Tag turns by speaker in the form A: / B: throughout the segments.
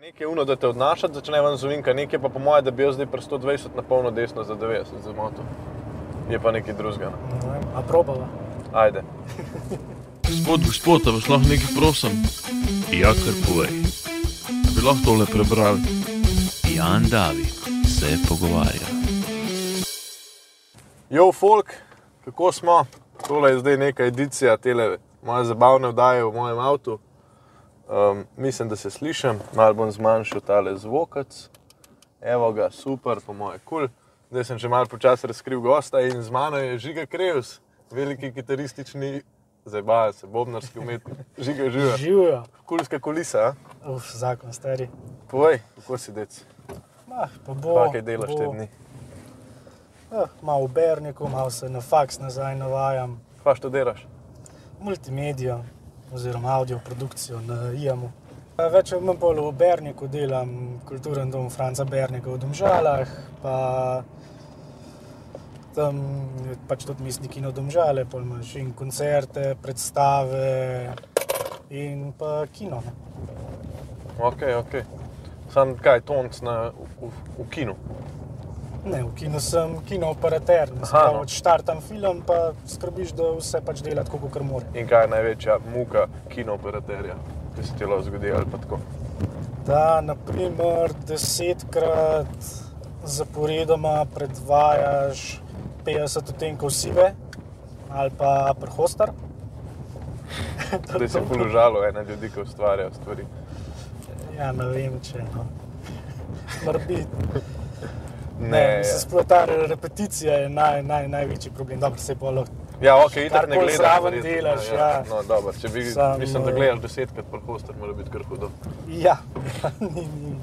A: Nekaj uno, da te odnašati, začne vam zunka, nekaj pa po mojem, da bi jaz zdaj pri 120 na polno desno za 90 za moto. Je pa nekaj drugega. no.
B: Ne vem, A probava.
A: Ajde.
C: Gospod, gospod, a vas lahko nekaj prosim?
D: Ja, kar povej.
C: Bi lahko tole prebrali?
D: Jan Davi se pogovarja.
A: Jo, folk, kako smo? Tole je zdaj neka edicija tele moje zabavne vdaje v mojem avtu. Um, mislim, da se slišim, malo bom zmanjšal tale zvokac. Evo ga, super, po moje kul. Cool. Zdaj sem že malo počasi razkril gosta in z mano je Žiga Krevs, veliki kitaristični, zabavaj se, bobnarski umetnik. Žiga živa.
B: Živijo,
A: Kulska kulisa, a?
B: uf, zakon stari.
A: povej, kako si dec,
B: Mah, pa bo,
A: kaj delaš
B: bo.
A: te dni.
B: Eh, malo v Berniku, malo se na faks nazaj navajam,
A: Pa študiraš.
B: multimedijo oziroma audio produkcijo na IAM-u. Več ali manj bolj v Berniku delam, kulturen dom Franca Bernika v Domžalah, pa tam je pač tudi misli kino Domžale, pa imaš in koncerte, predstave in pa kino. no. Ne.
A: Ok, ok. Sam kaj, tonc na, v, v kinu.
B: Ne, v kinu sem kinooperater, ne
A: Aha,
B: znam.
A: no.
B: Odštartam film, pa skrbiš, da vse pač dela tako, kot mora.
A: In kaj je največja muka kinooperaterja, ki se ti lahko zgodi ali pa tako.
B: Da, naprimer, desetkrat zaporedoma predvajaš 50 odtenkov sive ali pa prhostar.
A: Zdaj se je položalo ena ljudi, ki ustvarjajo stvari.
B: Ja, ne vem, če no. Mrbi,
A: Ne, ja.
B: se sploh ta repeticija je naj, naj, največji problem. Dobro, se pa lahko
A: ja, ok, itak ne
B: Karkoli
A: gledaš.
B: zraven
A: verjetno,
B: delaš, ja.
A: No, dobro, če bi, Sam,
B: Samo-
A: mislim, da gledaš desetkrat prhoster, mora biti kar hudo.
B: Ja, ni, ni.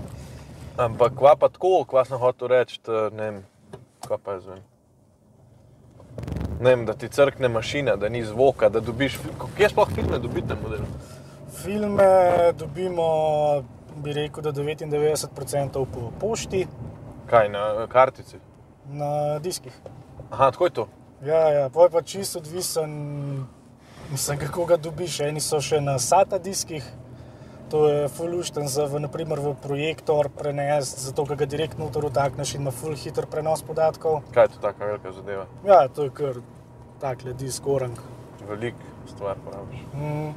A: Ampak kva pa tako, kva sem hotel reči, t- ne vem, kva pa je zven. Ne vem, da ti crkne mašina, da ni zvoka, da dobiš, fil- kje sploh filme dobiti na modelu.
B: Filme dobimo, bi rekel, da 99% po pošti,
A: Kaj, na eh, kartici?
B: na diskih.
A: Aha, tako je to.
B: Ja, ja, poj pa čisto odvisen, mislim, kako ga dobiš. Eni so še na SATA diskih, to je fulušten za v, naprimer, v projektor prenesti, zato ker ga direktno noter utakneš in ima ful hiter prenos podatkov.
A: Kaj je to taka velika zadeva?
B: Ja, to je kar takle disk orang.
A: Velik stvar praviš.
B: Mm.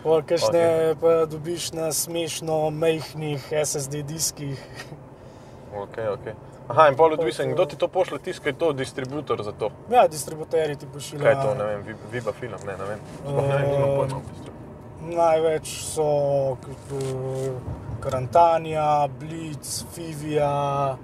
B: Pol Kakšne pa dobiš na smešno mehkih SSD diskih.
A: Okay, okay. Aha, in pol odvisen, kdo ti to pošlje, tiskaj to, distributor za to.
B: Ja, distributerji ti pošiljajo.
A: Kaj je to, ne vem, Vi- Viba film, ne, ne vem. Sploh ne vem,
B: Eh.
A: nimam pojma v bistvu.
B: Največ so Karantanja, Blitz, Fivija.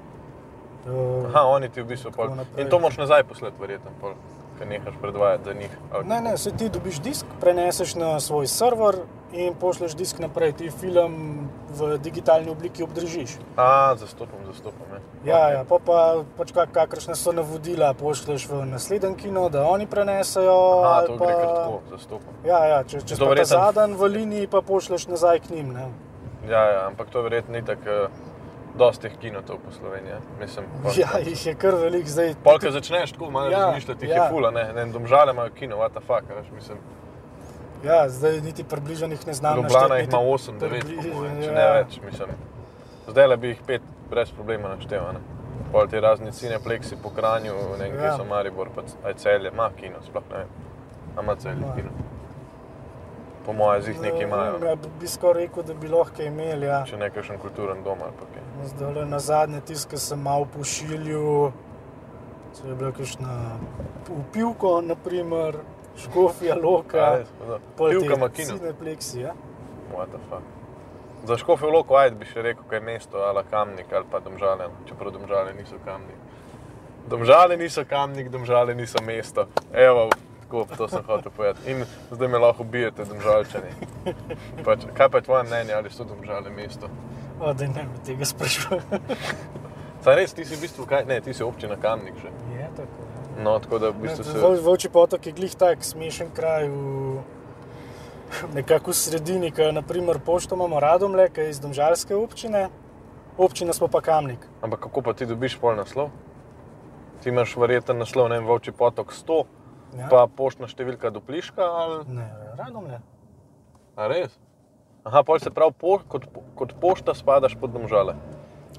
B: eh,
A: Aha, oni ti v bistvu pol.
B: Tako naprej.
A: In to moraš nazaj poslati, verjetno, pol, ker nehaš predvajati za njih. ali-
B: Ne, ne, se ti dobiš disk, preneseš na svoj server in pošleš disk naprej. Ti film v digitalni obliki obdržiš.
A: A, zastopam, zastopam. Ne.
B: Ja, ja, pa pa pač kak, kakršne so navodila, pošleš v naslednji kino, da oni prenesejo.
A: A,
B: ali
A: to
B: pa...
A: gre kar tako, zastopam.
B: Ja, ja, če, če
A: To
B: si
A: verjetno-
B: zadan v liniji, pa pošleš nazaj k njim. Ne?
A: Ja, ja, ampak to verjetno ni tako, dosti teh kinotov po Sloveniji. ja. Mislim, pol-
B: Ja, jih je kar velik zdaj.
A: Pol, ko začneš tako malo
B: Ja,
A: razmišljati, jih
B: ja.
A: je fula, ne, ne, domžale imajo kino, what the fuck, veš, mislim.
B: Ja, zdaj niti približanih Ja, ne znam.
A: Ljubljana
B: našteti,
A: jih ima
B: niti
A: 8, 9,
B: približno,
A: če
B: ja.
A: ne več, mislim. Zdaj le bi jih 5 brez problema našteval. ne. Pol te razne cine, pleksi po Kranju, ne vem, kje
B: Ja.
A: so Maribor, pa c- aj celje, ima kino, sploh ne vem. A Ima celje
B: Ima.
A: kino. Po mojem zih nekaj imajo,
B: Ja, bi- bi skoraj rekel, da bi lahko kaj imeli. Ja.
A: če ne kakšen kulturen dom ali pa kaj.
B: Zdaj le na zadnje tiske sem malo pošiljal, če je bilo kakšno upivko, naprimer, škofija
A: Kaj
B: loka.
A: je, hudo.
B: pol te
A: Ja, Pivka ima kino,
B: Cinepleksi, ja.
A: what the fuck. Za Škofijo Loko ajd bi še rekel, kaj je mesto, ali kamnik ali pa domžale, čeprav domžale niso kamnik. Domžale niso kamnik, domžale niso mesto. Evo, tako, to sem hotel povedati. In zdaj me lahko ubijete, domžalčani. Pač, kaj pa je tvoje mnenje, ali so domžale mesto?
B: O, da ne bi tega sprašval.
A: Saj res, ti si v bistvu kaj, ne, ti si občina kamnik že.
B: je tako. ja.
A: No, tako da v bistvu se...
B: Vol- Volčji potok je glih tak smešen kraj. V... Nekako v sredini, ki jo naprimer pošto imamo radomlje, ki je iz Domžalske občine, občina smo pa Kamnik.
A: Ampak kako pa ti dobiš pol naslov? Ti imaš verjeten naslov, ne vem, Volči potok 100,
B: Ja.
A: pa poštna številka dopliška ali...
B: Ne, radom ne.
A: A res? Aha, pol se pravi, po, kot, po- kot pošta spadaš pod domžale.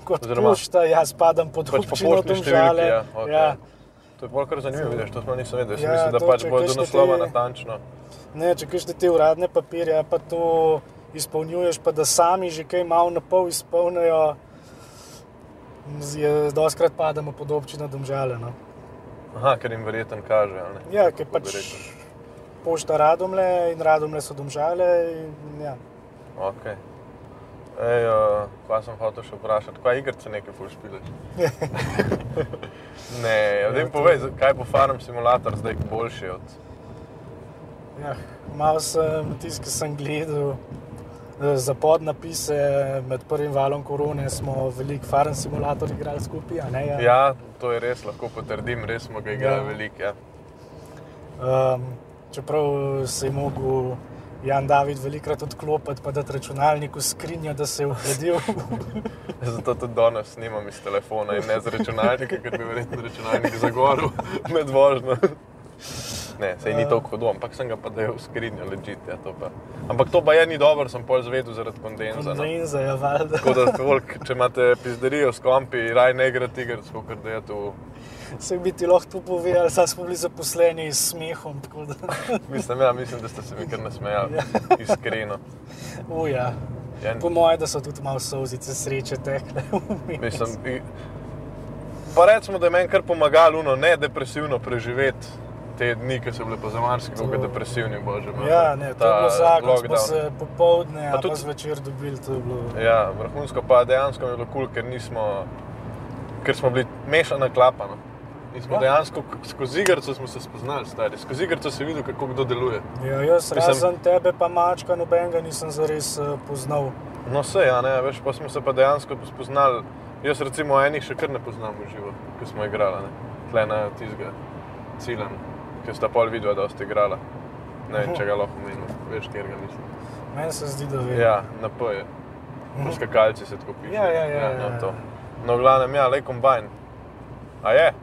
B: Kot
A: Oziroma-
B: Oziroma, pošta, jaz padam pod
A: Pač po
B: občino
A: poštni
B: Domžale.
A: številki, ja, okej.
B: ja,
A: To je bolj kar zanimivo, vidiš, to smo nisem vedel. Ja,
B: Ja,
A: mislim, da
B: to,
A: pač
B: če
A: bo do
B: kakšne
A: naslova
B: te-
A: natančno.
B: Ne, če kažeš te uradne papirje, ja, pa to izpolnjuješ, pa da sami že kaj malo na pol izpolnijo, doskrat pademo pod občino Domžale. No.
A: Aha, ker jim verjetno kaže. ali ne?
B: Ja, ker
A: Kako bi
B: pač
A: rekel.
B: pošta radomlje in radomlje so Domžale. In, ja.
A: Okay. Ej, uh, kaj sem hotel še vprašati, kaj igrice nekaj fulšpile? ne, vem povej, za- kaj bo farm simulator zdaj boljši od.
B: Ja, malo sem tisti, ki sem gledal eh, za podnapise med prvim valom korone, smo veliko faren simulator igrali skupaj. a Ne, ja.
A: Ja, to je res, lahko potrdim, res smo ga igrali
B: Ja.
A: ja. veliko. Ja.
B: Um, čeprav se je mogel Jan David velikrat odklopiti, pa da računalnik v skrinjo, da se je ohladil.
A: Zato tudi danes snimam iz telefona in ne z računalnika, ker bi verjetno računalnik zagoril med vožnjo. Ne, sej
B: Ja.
A: ni tako hudo, ampak sem ga pa dal v skrinjo, ležite. Ja, to pa. ampak to pa je ni dobro, sem pol zvedel zaradi kondenza. No.
B: Kondenza je ja, valjda.
A: Tako da, folk, če imate pizderijo s kompi, raj ne igrate igr, kot da je to.
B: Se bi ti lahko to povedal, saj smo bili zaposleni s smehom. tako Da,
A: Mislim, ja, mislim, da ste se mi kar nasmejali,
B: Ja.
A: iskreno.
B: uja.
A: Ja,
B: Po mojem, da so tudi malo sozice sreče tekle. vmes.
A: mislim, i- pa recimo, da je meni kar pomagalo, no, ne depresivno preživeti. Te dni, ki so bili pa za marsikoga
B: To-
A: depresivni, bože no. moj.
B: Ja, ne, to je bilo zakon, smo se popoldne,
A: Pa
B: pa
A: tudi-
B: tudi zvečer dobili, to je bilo.
A: Ja, vrhunsko pa dejansko mi je bilo kul, cool, ker nismo, ker smo bili mešana klapa. No. In smo ja.
B: Ja.
A: dejansko k- skozi igrico smo se spoznali, stari. Skozi igrico si videl, kako kdo deluje.
B: Ja, jaz
A: Mislim-
B: Mislim... razen tebe, pa mačka, nobenega nisem zares eh, poznal.
A: No, vse, ja, ne, veš, pa smo se pa dejansko spoznali. Jaz, recimo, enih še kar ne poznam v živo, ki smo igrali, ne. tle na tizga, cilem, ki sta pol videla, da ste igrala. Ne vem,
B: Mhm.
A: če ga lahko omenim, veš, kjer ga mislim.
B: Meni se zdi, da ve.
A: Ja, na P je.
B: Mhm.
A: Skakalci se tako piše.
B: Ja, ja, ja, ja,
A: no,
B: ja.
A: to. No, v glavnem, ja, le kombajn. A je?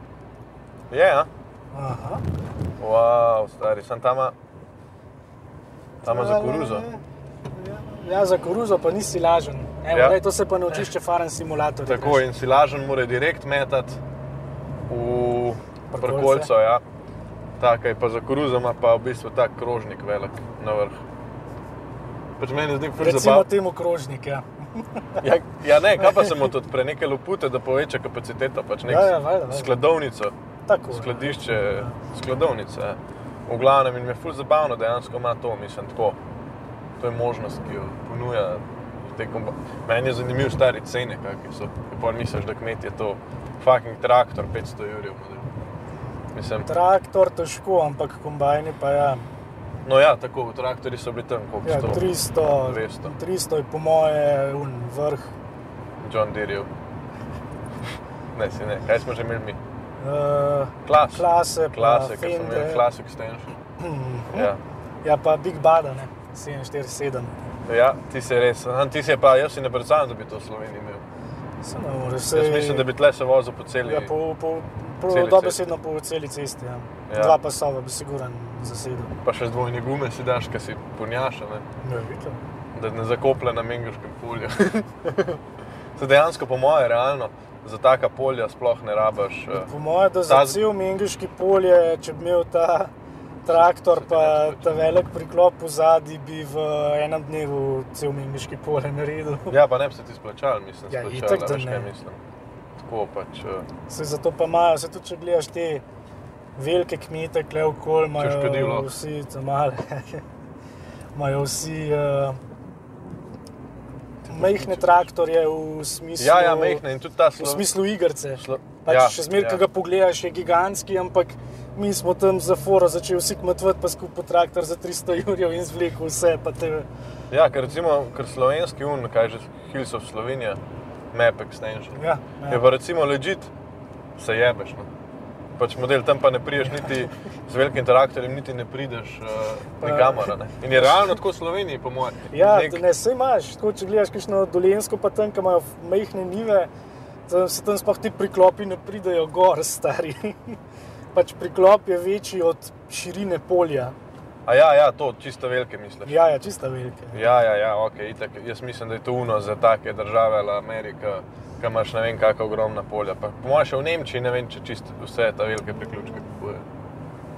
A: Je, a?
B: Aha.
A: Wow, stari, sem tam. Tam za koruzo.
B: Ja, za koruzo pa nisi lažen. Evo,
A: Ja.
B: ja. daj, to se pa naučiš, če faren simulator.
A: Tako
B: igraš.
A: in si lažen, mora direkt metati v
B: Prkolce.
A: prkolco. Ja. Tako je pa za koruzom, pa v bistvu ta krožnik velik na vrh. Pač meni zdi, da je
B: Recimo
A: zabavno.
B: temu krožnik. Ja,
A: Ja, ja, ne, kaj pa se mu tudi pre neke lupute, da poveča kapaciteto, pač nek
B: Ja, ja, valjda, valjda.
A: skladovnico,
B: tako. ja.
A: skladišče, skladovnice. ja. V glavnem in mi je ful zabavno, dejansko ima to, mislim, tako. To je možnost, ki jo ponuja. te komba- Meni je zanimiv stari cene, kakšni so. Ker Pol misliš, da kmet je to fucking traktor 500 jurjev. Mislim,
B: Traktor težko, ampak kombajni pa ja.
A: no ja, tako, traktori so bili tam, koliko
B: ja
A: so
B: 300,
A: 200.
B: 300 je po moje un vrh.
A: John Deerejev. Ne, si ne, kaj smo že imeli mi?
B: Uh,
A: Klas.
B: klase,
A: Klasik,
B: pa
A: ker smo imeli
B: Fende.
A: klasik stenš. Ja.
B: Ja, pa Big Bada, ne, 747.
A: ja, ti si res, Aha, ti si pa, jaz si ne predstavljam, da bi to v Sloveniji imel.
B: Se ne more, se
A: Jaz mislim, da bi tle se vozil po celi.
B: Ja, po, po, po,
A: celi
B: dobesedno po celi cesti. Ja.
A: Ja.
B: Ja. Dva pasova bi siguran zasedel.
A: Pa še z dvojni gume si daš, ki si punjaša, ne?
B: Ja, vidite.
A: da ne zakople na mengaškem polju. Se dejansko, po moje, realno, za taka polja sploh ne rabaš. eh,
B: Po mojem, da
A: Ta-
B: za cel Mengeški polje, če bi imel ta traktor, pa ta velik priklop v zadnji, bi v enem dnevu cel Mengeški polje naredil.
A: Ja, pa ne bi se ti splačal, mislim,
B: Ja,
A: splačal,
B: itak, da
A: veš, kaj
B: ne.
A: mislim. Tako pač. eh,
B: Se zato pa imajo, se tudi če gledaš te velike kmete, klev kol,
A: škodilo.
B: imajo vsi te male, imajo vsi uh, majhne traktorje v smislu,
A: Ja, ja, mehne in tudi ta
B: v
A: slo-
B: smislu igrice.
A: slo-
B: Pač
A: ja,
B: ja, še zmeraj,
A: ja.
B: ja. ki ga pogledaš, je gigantski, ampak mi smo tam za foro začeli vsi kmetovati, pa skupaj traktor za 300 jurjev in zvlekel vse. pa Te,
A: Ja, ker recimo, ker slovenski un, kaj že Hills of Slovenija, map extension.
B: ja,
A: Je
B: ja.
A: pa recimo ležit, se jebeš. No. Pač model tam pa ne priješ, niti z velikim traktorjem, niti ne prideš uh,
B: Pa-
A: nikamor. a Ne. In je realno tako v Sloveniji, po mojem.
B: Ja,
A: Nek-
B: Nek... ne, se imaš, tako če gledaš kakšno dolensko, pa tam, ki imajo majhne nive, tam se tam sploh ti priklopi ne pridejo gor, stari. pač priklop je večji od širine polja.
A: A ja, ja, to čisto velike misliš.
B: Ja, ja, čista velika.
A: Ja, ja, ja ok, itak. Jaz mislim, da je to uno za take države, la Amerika, ki imaš ne vem kakšna ogromna polja. Pa, po mojem še v Nemčiji ne vem, če čist vse te velike priključke kupuje.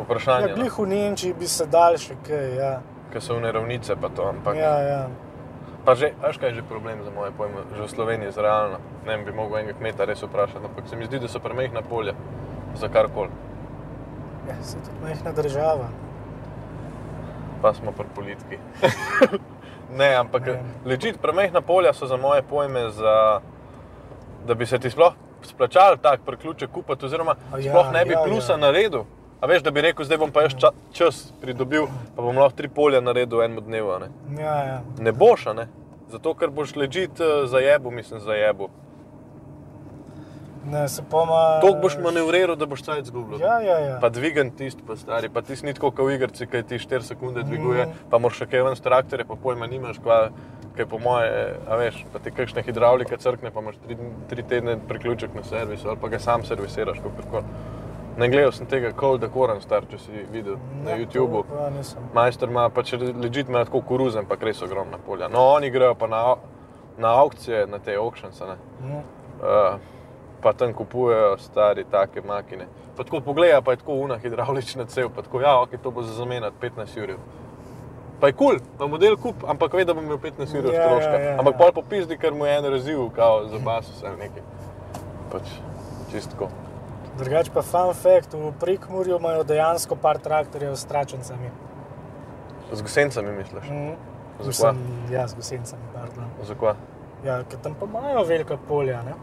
A: Vprašanje no.
B: Ja,
A: je,
B: glih v Nemčiji bi se dal še kaj. Ja,
A: kaj so vne ravnice, pa to, ampak.
B: ja. ja.
A: Pa že, veš kaj je že problem za moje pojme, že v Sloveniji je realno. Ne vem, bi mogel enega kmeta res vprašati, ampak se mi zdi, da so premehna polja za kar koli.
B: ja se tudi majhna država.
A: Pa smo pri politiki. ne, ampak
B: Ne.
A: lečit premehna polja so za moje pojme, za, da bi se ti sploh splačal tak priključek kupiti, oziroma
B: A
A: ja,
B: ja,
A: sploh ne bi ja,
B: ja,
A: plusa ja.
B: ja.
A: naredil. A veš, da bi rekel, zdaj bom pa jaz ča, čas pridobil, pa bom lahko tri polja naredil v enem dnevu. a Ne?
B: Ja, ja.
A: ne boš, a ne? Zato, ker boš ležit za jebo, mislim, za jebo.
B: Ne, se poma.
A: Tok boš manevriral, da boš cajt izgubil.
B: Ja, ja, ja.
A: Pa dvigan tisti, pa stari, pa tisti ni tako kot v igrici, ki ti 4 sekunde dviguje, mm. pa moraš še kaj ven s traktorja, pa pojma nimaš, kva, kaj po moje, a veš, pa ti kakšne hidravlike crkne, pa imaš 3 tedne priključek na servis ali pa ga sam servisiraš, kot kako. Ne gledal sem tega Cold Decoran star, če si videl na
B: Ne, to
A: YouTubu.
B: Ja, Pa nisem.
A: Majster ima pač ležit ima tako koruzen, pa res ogromna polja. No, oni grejo pa na, au- na aukcije, na te auctions, a ne.
B: Mhm.
A: Uh, pa tam kupujejo stari take makine. Pa tako pogleda, pa je tako una hidravlična cev, pa tako, ja, ok, to bo za zamenjati 15 ur. Pa je kul, cool, ima model kup, ampak ve, da bo imel 15 ur
B: Ja, ja,
A: stroška.
B: ja, ja.
A: Ampak pol popizdi, ker mu je en razil, kao za basus ali nekaj. Pač čistko.
B: Drugač pa fun fact, v Prekmurju imajo dejansko par traktorjev s tračnicami.
A: Z gosencami misliš?
B: Mhm.
A: Zakaj?
B: Mislim, Ja, z gosencami, pardon.
A: Zakaj?
B: Ja, ker tam pa imajo velika polja. Ne?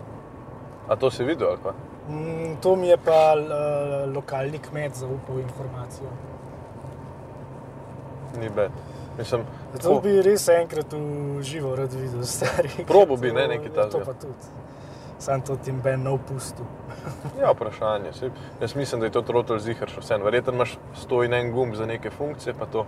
A: A to si videl ali kaj?
B: Mm, to mi je pa eh, lokalni kmet zaupal informacijo.
A: Ni bed. Mislim,
B: Zato
A: tako-
B: bi res enkrat v živo rad videl, stari.
A: Probo bi,
B: To-
A: ne, nekaj
B: ja, To
A: takega.
B: pa tudi. Sam to tim ben ne opustil.
A: Ja, vprašanje. Saj, jaz mislim, da je to trotel zihar še vse. Verjetno imaš 101 gumb za neke funkcije, pa to.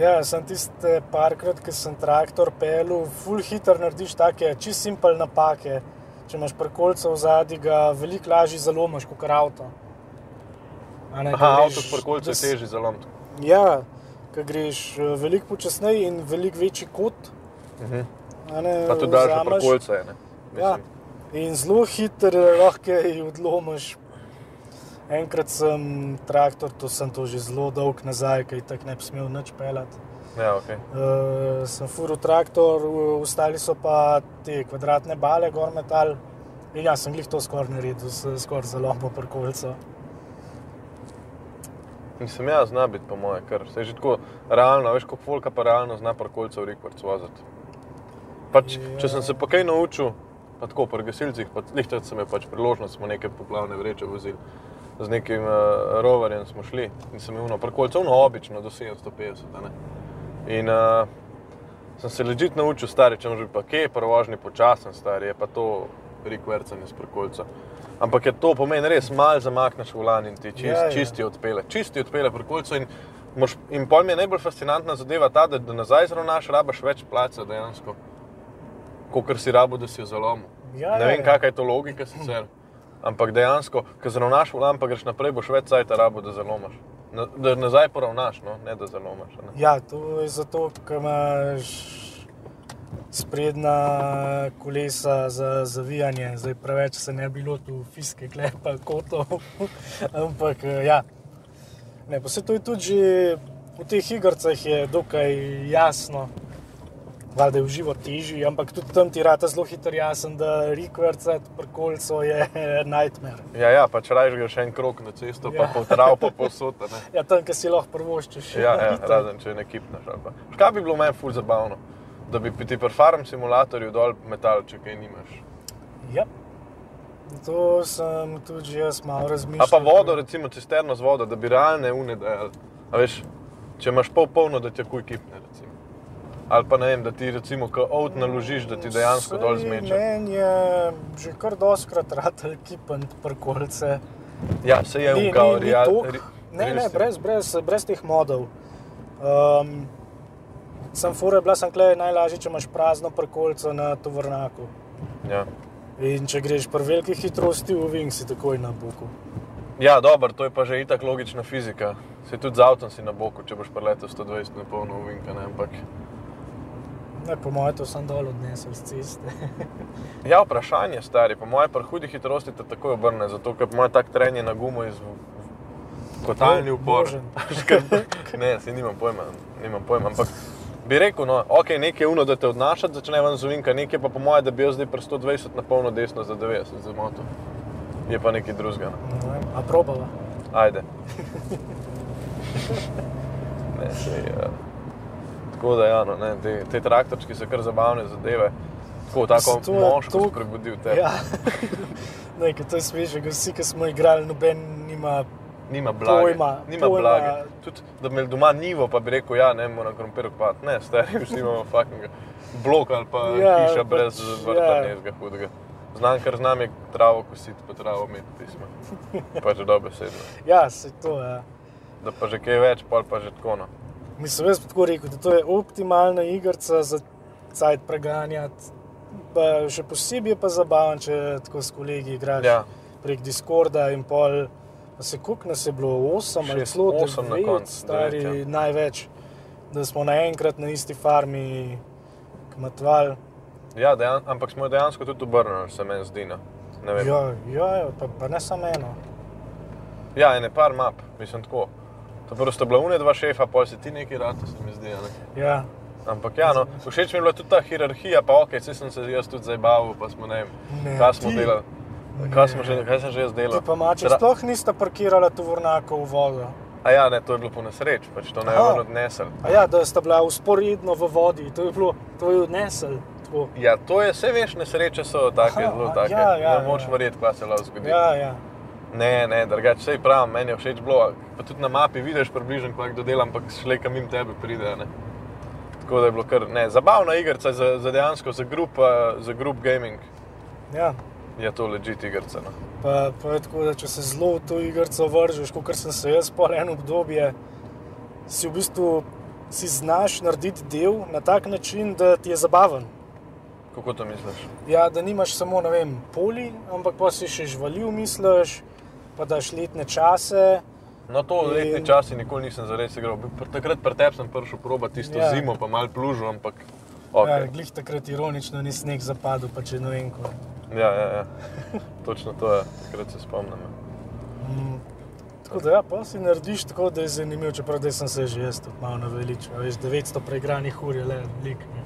B: Ja, sem tiste parkrat, ki sem traktor pelil, full hitro narediš take čist simpel napake. Če imaš prekolce v zadnji, ga veliko lažje zalomiš kot avto. A Ne,
A: Aha,
B: ko
A: avto s
B: greš
A: parkolcem
B: des-
A: teži zalomiti.
B: Ja, ki greš eh, veliko počasneje in veliko večji kot.
A: Mhm.
B: Ne,
A: Pa tudi daljša
B: vzameš.
A: parkolca je. ne?
B: Ja.
A: Mislim,
B: In zelo hitro lahko jih odlomiš. Enkrat sem traktor, to sem to že zelo dolg nazaj, ker tako ne bi smel nič pelati.
A: Ja, okay.
B: Uh, sem furil traktor, v- ostali so pa te kvadratne bale, gor metal. In ja, sem jih to skoraj naredil, s- skoraj zelo po parkolcu.
A: Mislim, ja, zna biti, po mojem, ker se je že tako realno, veš, kot folka pa realno zna parkolce v rekord voziti. Pač, če sem se pa kaj naučil, pa tako pri gasilcih, pa lihtat sem je pač priložnost, smo neke poplavne vreče vozili. Z nekim uh, roverjem smo šli in sem imel parkolce, no obično do 750. a Ne? In uh, sem se ležit naučil, stari, če že pa kje, prvožni počasen, stari je pa to rekvercanje s parkolca. Ampak je to pomeni res malo zamakneš v lan in ti čist,
B: Ja,
A: ja,
B: ja.
A: ja. čisti odpele, čisti odpele parkolca. In, moš, in pol mi je najbolj fascinantna zadeva ta, da, da nazaj zravnaš, rabaš več placa dejansko, kot si rabo, da si jo zalomil.
B: Ja,
A: ne
B: ja,
A: vem,
B: ja.
A: kakšna je to logika sicer. Ampak dejansko, ko zravnaš v lan, pa greš naprej, boš več cajt rabo, da zalomaš. Na, da nazaj poravnaš, no? ne da zalomaš. a Ne?
B: Ja, to je zato, ker imaš sprednja kolesa za zavijanje. Zdaj preveč se ne bi lotil fiske, klepa, kotov. Ampak eh, ja, ne, pa se to je tudi že v teh igrah je dokaj jasno. Vlada je v živo težji, ampak tudi tam ti rata zelo hitro jasen, da rekvercati prkolco je nightmare.
A: Ja, ja, pač rajš greš en krok na cesto, ja. pa
B: Ja.
A: po travu, pa posod. a ne.
B: Ja, tam, kjer si lahko prvoščeš.
A: Ja, ja, razen če ne kipneš. ali pa. Veš, Kaj bi bilo meni ful zabavno? Da bi ti pri farm simulatorju dol metal, če kaj nimaš.
B: Ja. To sem tudi jaz malo
A: A
B: razmišljal.
A: pa vodo, recimo cisterno z vodo, da bi realne une dajali. A veš, če imaš pol polno, da ti kuj kipne. Recimo. Ali pa ne vem, da ti recimo kot ovt naložiš, da ti dejansko dol
B: Saj
A: zmeče.
B: Meni je že kar doskrat ratel kipant prkolce.
A: Ja, se je
B: Ni-
A: ukal,
B: ni- ni toliko. Ne, ne, brez, brez, brez teh modov. Um, sem fure, bila sem klej najlažje, če imaš prazno prkolco na tovornjaku.
A: Ja.
B: In če greš pri veliki hitrosti v Ving, si takoj na boku.
A: Ja, dobro, to je pa že itak logična fizika. Se tudi z avtom si na boku, če boš preletel 120 na polno uvinka, ne? ampak
B: Ne, po mojem, to sem dol odnesel z ceste.
A: Ja, vprašanje, stari, po mojem, pri hudi hitrosti te takoj obrne, zato ker ima tak trenje na gumo iz kotalni upor.
B: Možen.
A: ne, se nimam pojma, nimam pojma, ampak bi rekel, no, ok, nekaj je uno, da te odnašati, začne ven zovinka, nekaj pa po mojem, da bi jaz zdaj pri 120 na polno desno za 90 za moto. Je pa nekaj drugega. no.
B: Ne vem, A probava.
A: Ajde. ne, sej, uh, tako da, ja, no, ne, te, te traktorčki so kar zabavne zadeve. Tako, tako
B: Zato je
A: moško
B: to-
A: to... prebudil te.
B: Ja. ne, ker to je smešno, ker vsi, ki smo igrali, noben nima.
A: Nima blage.
B: Pojma,
A: nima
B: pojma.
A: blage. Tudi, da bi imel doma nivo, pa bi rekel, ja, ne moram krompir kupiti. Ne, stari, vsi imamo fucking blok ali pa
B: Ja,
A: ja, hiša
B: pač,
A: brez vrta,
B: ja.
A: ja. nekega hudega. Znam, ker znam je travo kositi, pa travo imeti pismo. Pač dobesedno.
B: Ja, se to je. Ja.
A: Da pa že kaj več, pol pa že tako. No.
B: Mislim, jaz bi tako rekel, da to je optimalna igrica za cajt preganjati. Pa še posebej je pa zabaven, če tako s kolegi igraš
A: Ja.
B: prek Discorda in pol. Pa se kuk nas je bilo 8 ali
A: Šest,
B: celo
A: osem na
B: 9,
A: koncu,
B: stari
A: devet, ja.
B: največ, da smo naenkrat na isti farmi kmetovali.
A: Ja, dejan, ampak smo jo dejansko tudi obrnili, se meni zdi. no. Ne vem.
B: Ja, ja, ja, pa, pa ne samo eno.
A: Ja, ene par map, mislim tako. To prosto bila une dva šefa, pol si ti neki rad, se mi zdi. a Ne?
B: Ja,
A: Ampak ja, no, všeč mi je bila tudi ta hierarhija, pa ok, vse sem se jaz tudi zabaval, pa smo ne vem,
B: Ne,
A: kaj smo
B: ti.
A: delali. Kaj, smo že, kaj sem že jaz delal?
B: ti pa mače
A: Tra-
B: sploh nista parkirala tovornjakov v vodo.
A: A ja, ne, to je bilo po nesreči, pač to ne
B: Aha.
A: bi odnesel.
B: A ja, da sta bila usporedno v vodi, to je bilo, to je odnesel. Tako.
A: Ja, to je, vse veš, nesreče so take,
B: Aha,
A: zelo
B: a,
A: take.
B: ja, ja,
A: ne moč
B: ja.
A: verjeti, kaj se lahko zgodi.
B: Ja, ja.
A: Ne, ne, drugače se pravi, meni je všeč bilo. Pa tudi na mapi vidiš približno, kaj kdo dela, ampak šle kam jim tebe pride. a Ne. Tako da je bilo kar ne, zabavna igrica za, za dejansko, za grup, eh, za grup gaming
B: ja.
A: je to ležit igrica. No.
B: Pa, pa je tako, da če se zelo v to igrico vržeš, kot sem se jaz po eno obdobje, si v bistvu si znaš narediti del na tak način, da ti je zabaven.
A: Kako to misliš?
B: Ja, da nimaš samo ne vem, poli, ampak pa si še žvalil, misliš, pa daš letne čase.
A: No, to
B: In-
A: v letni časi nikoli nisem zares igral. Bi pr- Takrat pred tebem sem prišel proba tisto
B: Ja.
A: ja. zimo, pa mal plužil, ampak.
B: Okay. Ja,
A: Okay.
B: glih takrat ironično ni sneg zapadel, pa če ne vem kako.
A: Ja, ja, ja. Točno to je, takrat se spomnim. ja.
B: Mm, Tako da, ja, pa si narediš tako, da je zanimivo, čeprav da sem se že jaz tudi malo naveličal. a Veš, 900 preigranih ur je le lik. ne.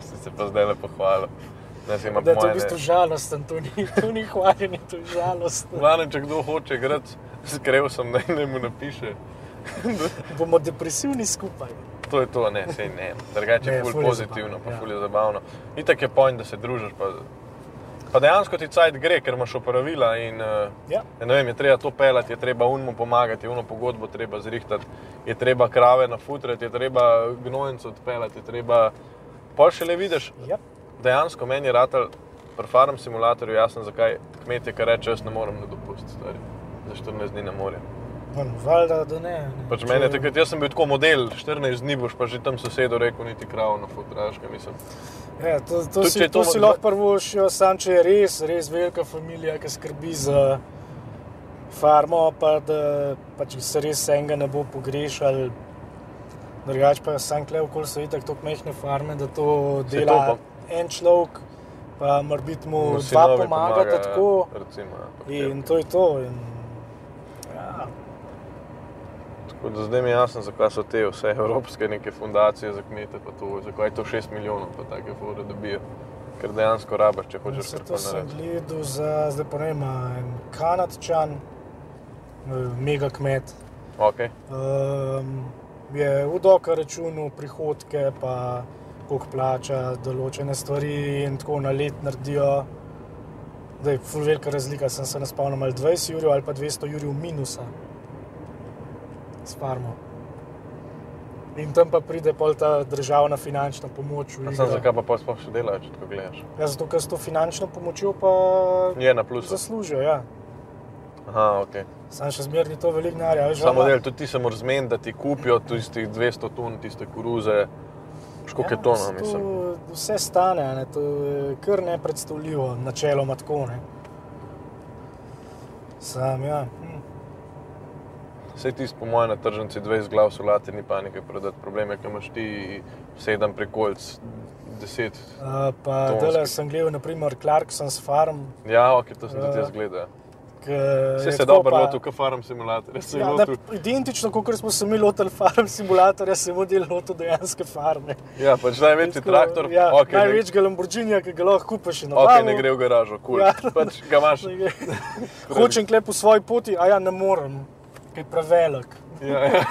A: Si se pa zdaj lepo hvalil. Ne, si ima
B: Da je to
A: moje
B: v bistvu
A: ne-
B: žalosten, to ni, to ni hvaljenje, to je žalostno.
A: Glavno, če kdo hoče igrati, skrev sem, da naj mu napiše.
B: Bomo depresivni skupaj.
A: To je to, ne, sej ne. Drugače
B: Ne,
A: je
B: ful
A: ful
B: je
A: pozitivno,
B: zabavno,
A: pa
B: ja.
A: ful je zabavno. Itak je point, da se družiš. Pa, pa dejansko ti cajt gre, ker imaš opravila in eh,
B: Ja.
A: ja, ne vem, je treba to pelati, je treba unmu pomagati, je uno pogodbo treba zrihtati, je treba krave nafutrati, je treba gnojnico odpeljati, je treba... Pol še le vidiš,
B: Ja.
A: dejansko meni je ratal, pri farm simulatorju jasno, zakaj kmetje, ki rečejo, jaz ne morem na dopust, stari. za 14 dni ne morem.
B: No, valjda, da ne. ne.
A: Pač
B: Če-
A: meni je takrat, jaz sem bil tako model, 14 dni boš pa že tam sosedu rekel, niti kravo na fotraške, mislim.
B: Ja, to, to,
A: Tudi
B: si,
A: če je
B: to, to
A: to-
B: si lahko prvo šel, sam če je res, res velika družina, ki skrbi za farmo, pa da pa če se res enega ne bo pogrešal. Drugač pa sam klev, kol so itak tako mehne farme, da to
A: Saj to
B: dela
A: pa-
B: en človek, pa mora biti mu
A: Mu
B: dva
A: sinovi
B: pomagata tako.
A: Recimo, ja, pa
B: In
A: kaj.
B: to je to. In, ja,
A: tako da zdaj mi je jasno, zakaj so te vse evropske neke fundacije za kmete, pa to, zakaj je to 6 milijonov, pa take fore dobijo. Ker dejansko rabaš, če hočeš
B: Vse
A: kar
B: to
A: koli
B: sem
A: narediti.
B: gledal za, zdaj pa ne vem, a en kanadčan, eh, mega kmet.
A: Okay.
B: Um, je v doka računu prihodke, pa koliko plača, določene stvari in tako na let naredijo. Da je ful velika razlika, sem se naspal ali 20 ur ali pa 200 ur minusa s farmo. In tam pa pride pol ta državna finančna pomoč. v
A: A
B: igro.
A: Sam zakaj pa pa sploh še delajo, če tako gledaš.
B: Ja, zato, ker s to finančno pomočjo pa
A: Je na plusu.
B: zaslužijo. Ja.
A: Aha, okay.
B: Sam še zmeraj ni to veliko denarja. veš,
A: Samo
B: ali pa-
A: del, tudi ti se moraš zmeniti, da ti kupijo tistih 200 ton, tiste koruze, škoke ja,
B: saj
A: tona,
B: to
A: mislim.
B: Vse stane, a ne, to je kar nepredstavljivo, načeloma tako. Ne. Sam, ja. Hm.
A: Vse tisto, po mojem, na tržnici 20 glav solate, ni panike prodati. Problem je, ker imaš ti 7 prikolic, 10.
B: Uh, pa
A: Tonski.
B: delal sem gledal, naprimer, Clarkson's Farm.
A: Ja, ok, to sem tudi
B: Ja.
A: jaz gledal.
B: ki
A: Vse
B: je
A: se
B: tako
A: dobro
B: pa-
A: lotil, kot farm simulator. Jaz sem
B: Ja,
A: ja,
B: da,
A: lotil.
B: identično kot smo se mi lotili farm simulatorja, se je model lotil dejanske farme.
A: Ja, pač največji
B: Tako,
A: traktor,
B: Ja,
A: ok,
B: okay,
A: ne,
B: največjega Lamborghinija, ki ga lahko kupiš na
A: okay,
B: Valu.
A: ne gre v garažo, kul. Cool.
B: Ja.
A: Ja. Pač ga imaš.
B: Hočem klep po svoji poti, a ja ne morem, ker je prevelik.
A: Ja, ja.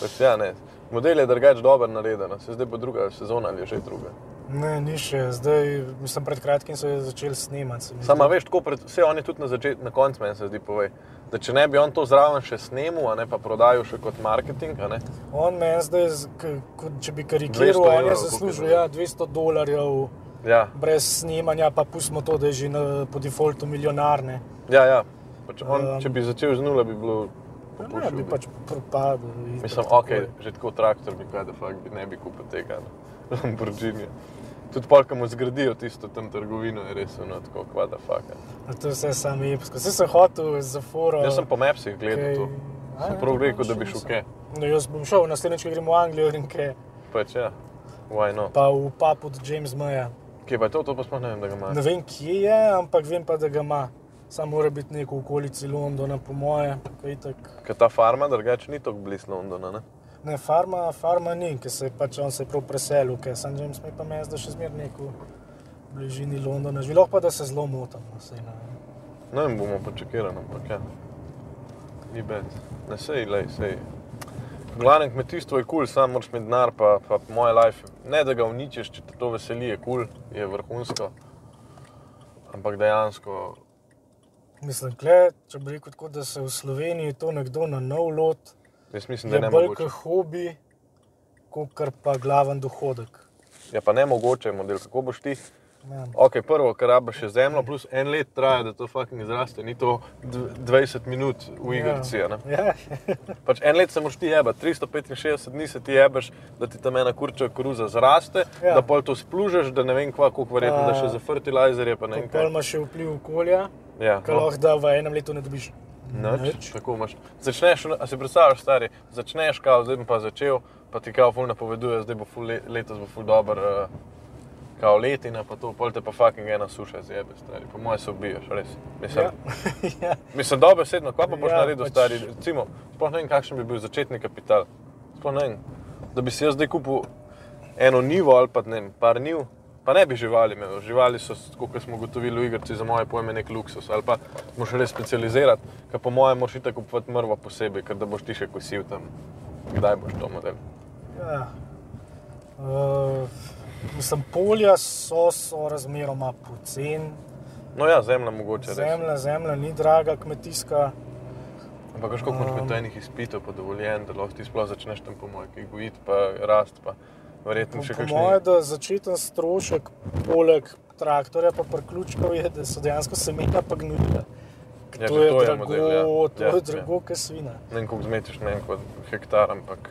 A: Pač, ja, ne. Model je drugače dober nareden, se zdaj bo druga sezona ali je že druga.
B: Ne, ni še, zdaj, mislim, pred kratkim so jo začeli snemati. se mi
A: Sama
B: zdi.
A: veš, tako pred, vse on je tudi na, začet, na koncu meni se zdi pove. Da če ne bi on to zraven še snemal, a ne pa prodajal še kot marketing, a ne,
B: On meni zdaj, z- k- kot če bi
A: 200
B: karikiral, on je
A: evrov, koliko
B: zaslužil
A: je
B: ja, 200 dolarjev
A: ja,
B: brez snemanja, pa pustimo to, da je že na, po defaultu milijonarne.
A: ja, ja. Pač on,
B: Um,
A: če bi začel z nula, bi bilo
B: Ne, bi
A: popuščeno.
B: pač propadel. itak
A: Mislim,
B: takoj.
A: ok, že tako traktor bi kaj, da fakt bi ne bi kupil tega ne. Lamborghini. Tudi pol, ko mu zgradijo tisto tam trgovino, je res ono tako, kva da fakt.
B: A To je vse samo epsko. Vse sem hotel za foro.
A: Jaz sem po mapsih
B: kaj-
A: gledal to.
B: Uh, A,
A: Sem
B: ja,
A: prav
B: to
A: rekel, da
B: še
A: bi šel
B: nisem.
A: kaj.
B: No, jaz bom šel naslednjič, ko gremo v Anglijo, Rinke,
A: Pač ja, why not.
B: pa v pub od James Maya.
A: Kje pa je to, to pa sploh ne vem, da ga
B: Ne
A: imaš.
B: vem, kje je, ampak vem pa, da ga ima. Sam mora biti neko okolici Londona, po moje. kaj itak-
A: Ker ta farma drugače ni tako blizu Londona, ne?
B: Ne, farma, farma ni, ker se je pač on se je prav preselil, ker St. James May pa meni, da še zmeraj neko v bližini Londona. Živelo pa, da se zelo motam. no, saj ne.
A: Ne vem, bomo počakali, ampak ja. Ni bed. Ne sej, lej, sej. Glavno kmetijstvo je kul, cool, sam moraš imeti denar, pa, pa moj life. Ne da ga uničiš, če te to veseli, je kul, cool, je vrhunsko. Ampak dejansko,
B: Mislim, kle, če bi rekel tako, da se v Sloveniji to nekdo na nov lot,
A: jaz mislim, da
B: je
A: je ne
B: bolj
A: mogoče.
B: kot hobi, kot kar pa glaven dohodek.
A: Je Ja, pa ne mogoče model, kako boš ti.
B: Ja.
A: Ok, prvo, kar rabiš je zemljo, plus en let traja, da to fucking izraste, ni to dv- 20 minut v igrici. a ne.
B: Ja.
A: Pač en let se moraš ti jebati, 365 dni se ti jebeš, da ti tam ena kurča koruza zraste, ja.
B: Ja.
A: da pol to splužeš, da ne vem, kva, koliko verjetno da še za fertilizerje, pa ne vem
B: Pol
A: kaj.
B: imaš še vpliv okolja,
A: Ja,
B: kar lahko da v enem letu ne dobiš.
A: Noč, tako imaš. Začneš, a si predstavljaš, stari, začneš kao, zdaj bom pa začel, pa ti kao ful napoveduje, zdaj bo ful le, letos bo ful dober, uh, kao letina, pa to, pol te pa fucking ena suša zjebe, stari, po moje se ubiješ, res. Mislim, ja.
B: ja.
A: Mislim, da je besedno, kaj pa boš ja,
B: Ja,
A: naredil, pač...
B: pač-
A: stari. Recimo, sploh ne vem, kakšen bi bil začetni kapital. Sploh ne vem, da bi si jaz zdaj kupil eno nivo ali pa ne vem, par niv, pa ne bi živali imel. Živali so, tako kot smo ugotovili v igrici, za moje pojme nek luksus ali pa moš res specializirati, ker po mojem moš itak kupovati mrvo posebej, ker da boš ti še kosil tam. Kdaj boš to model?
B: Ja. Uh, mislim, polja so, so razmeroma poceni.
A: No ja, zemlja mogoče res.
B: Zemlja, zemlja ni draga, kmetijska.
A: Ampak veš, koliko imaš um... tajnih izpitev, pa dovoljen, da lahko ti sploh začneš tam po mojem, ki gojit, pa rast, pa verjetno še
B: Po
A: kakšne.
B: mojem, da začeten strošek, poleg traktorja, pa priključkov, je, da so dejansko semena pa gnojila.
A: Ja, že
B: Ja, to je
A: to je
B: drago,
A: model, ja.
B: to
A: Ja,
B: je
A: ja.
B: drago, ja. kasvina.
A: ne vem, koliko zmetiš, ne vem, kot hektar, ampak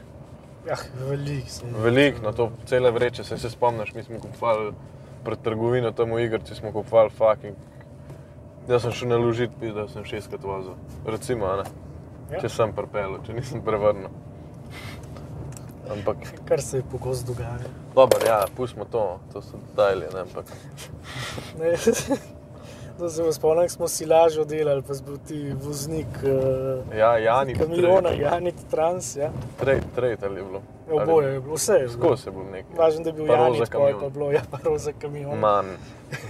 B: Ja, velik se je.
A: veliko, no to cele vreče, se, se spomniš, mi smo kupovali pred trgovino tam v igrici, smo kupovali fucking. Jaz sem šel na ložit, da sem šestkrat vozil, recimo, a ne. Ja.
B: Ja.
A: Če sem prepel, če nisem prevrnil. Ampak,
B: Kar se je pogosto dogajalo.
A: dobro, ja, pustimo to, to so detajli, ne, ampak.
B: Ne, Da se vas spomnim, ko smo si lažo delali, pa si bil ti voznik uh,
A: Ja, Jani,
B: kamiona, Janik Trans. Ja.
A: trade, trade ali je bilo.
B: Ja, Oboje je bilo, vse je bilo.
A: Skozi je bilo nekaj.
B: Važno, da je bil
A: Pa roza
B: Janik, pol pa
A: kamion.
B: je bilo, ja, pa roza kamion.
A: Manj,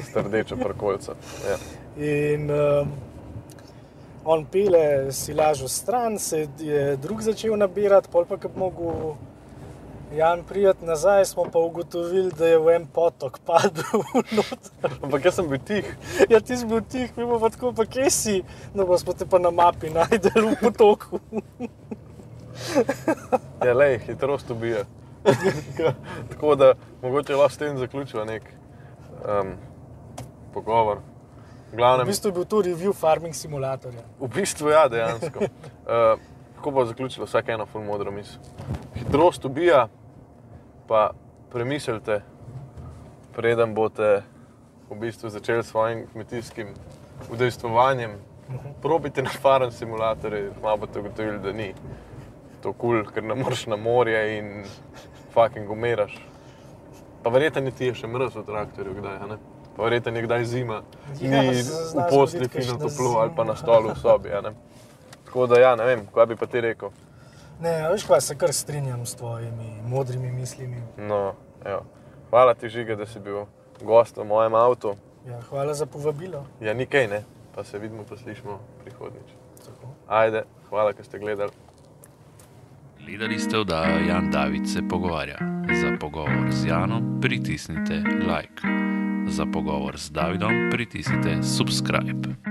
A: strdeča prkolca. Ja.
B: In um, on pile si lažo stran, se je drug začel nabirati, pol pa kot mogo. Jan, prijet nazaj smo pa ugotovili, da je v en potok padel. noter.
A: Ampak jaz sem bil tih.
B: ja, ti si bil tih, mi pa tako, pa kje si, no pa smo te pa na mapi najdel v potoku.
A: Ja, le, hitrost ubija. Tako da mogoče lahko s tem zaključiva nek um, pogovor. V
B: V
A: glavnem,
B: bistvu je bil to review farming simulatorja.
A: v bistvu ja, dejansko. Uh, kako bo zaključilo vsak eno ful modro misel? Hitrost ubija, pa premislite, preden boste v bistvu začeli s svojim kmetijskim udejstvovanjem.
B: Mhm.
A: Probite na farm simulatorje, malo boste ugotovili, da ni to kul, cool, ker ne moreš na morje in fucking umiraš. Pa verjetno niti je še mrz v traktorju, kdaj. a ne? Pa verjetno je kdaj zima,
B: Ja,
A: ni
B: se
A: v
B: zna
A: posli
B: zgoditi
A: fino
B: kakšna
A: toplo ali pa na
B: zima.
A: stolu v sobi. a ne. Tako da ja, ne vem, kaj bi pa ti rekel.
B: Ne, a veš, kaj se kar strinjam s tvojimi modrimi mislimi.
A: No, evo. Hvala ti, Žiga, da si bil gost v mojem avtu.
B: Ja, hvala za povabilo.
A: Ja, nikaj ne, pa se vidimo, poslišimo prihodnjič.
B: Tako.
A: Ajde, hvala, ker ste gledali.
D: Gledali ste, da Jan David se pogovarja. Za pogovor z Janom pritisnite like, za pogovor z Davidom pritisnite subscribe.